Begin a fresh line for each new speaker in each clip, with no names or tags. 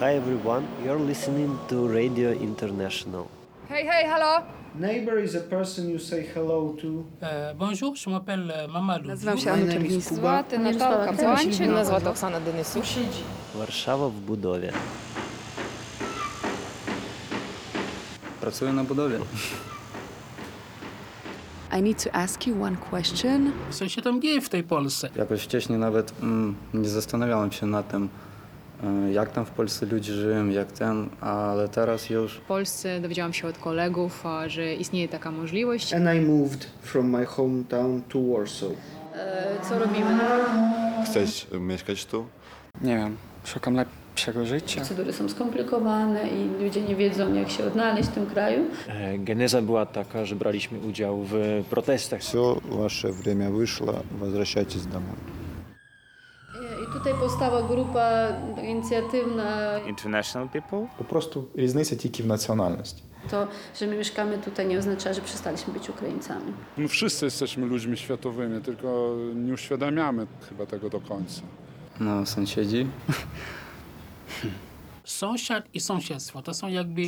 Hi everyone, you're listening to Radio International.
Hej, hej, halo!
Neighbor is a person you say hello to.
Euh, bonjour, je m'appelle euh, Mamadou.
Nazywam się
My
Anu
name is
Czerwińska.
Kuba.
Ty Natalka
Mnie
Błańczyk.
звати Оксана Денисюк.
Warszawa w budowie.
Працюю на будові.
I need to ask you one question.
Co się tam dzieje w tej Polsce?
Jakoś wcześniej nawet mm, nie zastanawiałem się nad tym, e, jak tam w Polsce ludzie żyją, jak ten, ale teraz już
W Polsce dowiedziałam się od kolegów, a, że istnieje taka możliwość.
And I moved from my hometown to Warsaw.
Co robimy?
Chcesz mieszkać tu?
Nie wiem, szukam lepszego życia.
Procedury są skomplikowane i ludzie nie wiedzą, jak się odnaleźć w tym kraju.
E, Geneza była taka, że braliśmy udział w protestach.
Все, ваше время вышло, возвращайтесь домой.
I tutaj powstała grupa inicjatywna,
International people?
Po prostu різниця тільки в національності.
to, że my mieszkamy tutaj nie oznacza, że przestaliśmy być Ukraińcami.
My wszyscy jesteśmy ludźmi światowymi, tylko nie uświadamiamy chyba tego do końca.
no, sąsiedzi.
Sąsiad i sąsiedztwo to są jakby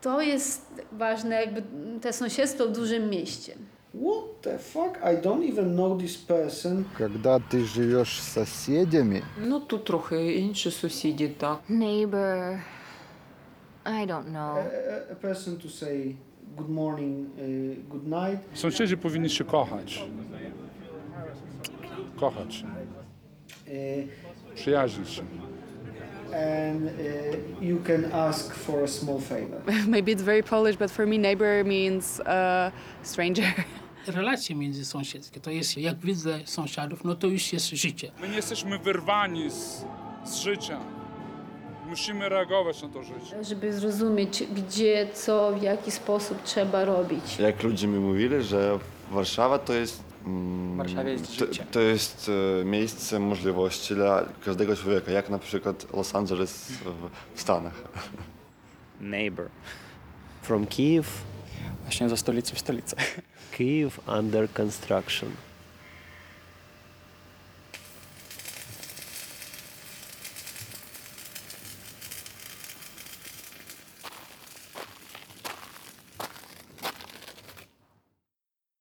To jest ważne, jakby te sąsiedztwo w dużym mieście.
What the fuck? I don't even know this person.
Когда ты живешь с соседями,
Ну, тут трохи інші сусіді, так.
Neighbor. I don't know.
A, a person to say good morning, uh, good night.
Sąsiedzi powinni się kochać. Kochać się,
Uh,
przyjaźnić się.
and uh, you can ask for a small favor.
Maybe it's very Polish, but for me neighbor means uh, stranger.
relacje międzysąsiedzkie. To jest, jak widzę sąsiadów, no to już jest życie.
My nie jesteśmy wyrwani z, z życia. Musimy reagować na to życie.
Żeby zrozumieć, gdzie, co, w jaki sposób trzeba robić.
Jak ludzie mi mówili, że Warszawa to jest
Warszawa jest
to,
życie.
to jest e, miejsce możliwości dla każdego człowieka, jak na przykład Los Angeles w, w Stanach.
Neighbor.
From Kiev,
Właśnie za stolicę w stolicę.
Kiev under construction.